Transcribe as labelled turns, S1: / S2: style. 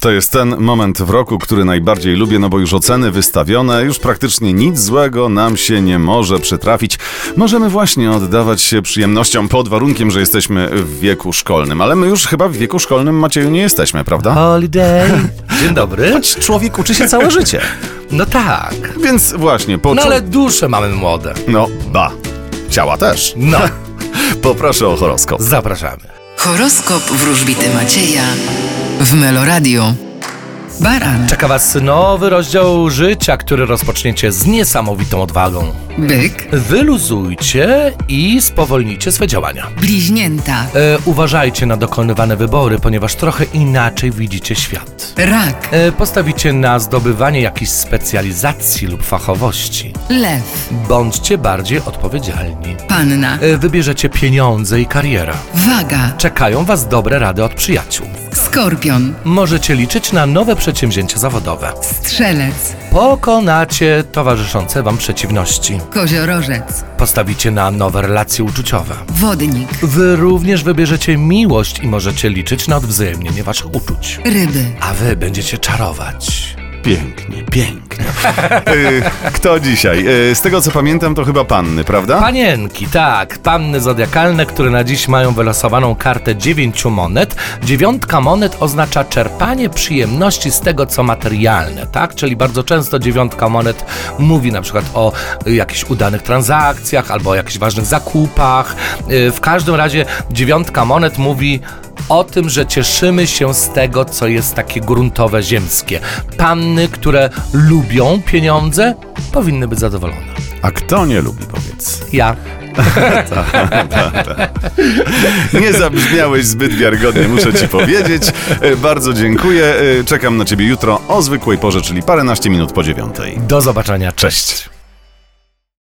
S1: To jest ten moment w roku, który najbardziej lubię, no bo już oceny wystawione, już praktycznie nic złego nam się nie może przytrafić. Możemy właśnie oddawać się przyjemnościom pod warunkiem, że jesteśmy w wieku szkolnym, ale my już chyba w wieku szkolnym, Macieju, nie jesteśmy, prawda?
S2: Holiday. Dzień dobry.
S1: Człowiek uczy się całe życie.
S2: No tak.
S1: Więc właśnie, po
S2: No ale dusze mamy młode.
S1: No, ba. Ciała też.
S2: No,
S1: Poproszę o horoskop.
S2: zapraszamy.
S3: Horoskop wróżbity Macieja w Meloradio. Baran,
S2: Czeka Was nowy rozdział życia, który rozpoczniecie z niesamowitą odwagą.
S3: byk,
S2: Wyluzujcie i spowolnijcie swe działania.
S3: bliźnięta,
S2: E, uważajcie na dokonywane wybory, ponieważ trochę inaczej widzicie świat.
S3: rak,
S2: E, postawicie na zdobywanie jakichś specjalizacji lub fachowości.
S3: lew,
S2: Bądźcie bardziej odpowiedzialni.
S3: panna,
S2: E, wybierzecie pieniądze i karierę.
S3: waga,
S2: Czekają Was dobre rady od przyjaciół.
S3: skorpion,
S2: Możecie liczyć na nowe przedsięwzięcia zawodowe.
S3: strzelec,
S2: Pokonacie towarzyszące Wam przeciwności.
S3: koziorożec,
S2: Postawicie na nowe relacje uczuciowe.
S3: wodnik,
S2: Wy również wybierzecie miłość i możecie liczyć na odwzajemnienie Waszych uczuć.
S3: ryby.
S2: A Wy będziecie czarować.
S1: Pięknie, pięknie. Y, Kto dzisiaj? Y, Z tego co pamiętam, to chyba panny, prawda?
S2: Panienki, tak, panny zodiakalne, które na dziś mają wylosowaną kartę dziewięciu monet. Dziewiątka monet oznacza czerpanie przyjemności z tego, co materialne, tak? Czyli bardzo często dziewiątka monet mówi na przykład o y, jakichś udanych transakcjach albo o jakichś ważnych zakupach. Y, W każdym razie dziewiątka monet mówi o tym, że cieszymy się z tego, co jest takie gruntowe, ziemskie. Panny, które lubią pieniądze, powinny być zadowolone.
S1: A kto nie lubi, powiedz?
S2: Ja.
S1: Nie zabrzmiałeś zbyt wiarygodnie, muszę ci powiedzieć. Y, Bardzo E, dziękuję. Y, Czekam na ciebie jutro o zwykłej porze, czyli paręnaście minut po dziewiątej.
S2: Do zobaczenia. Cześć.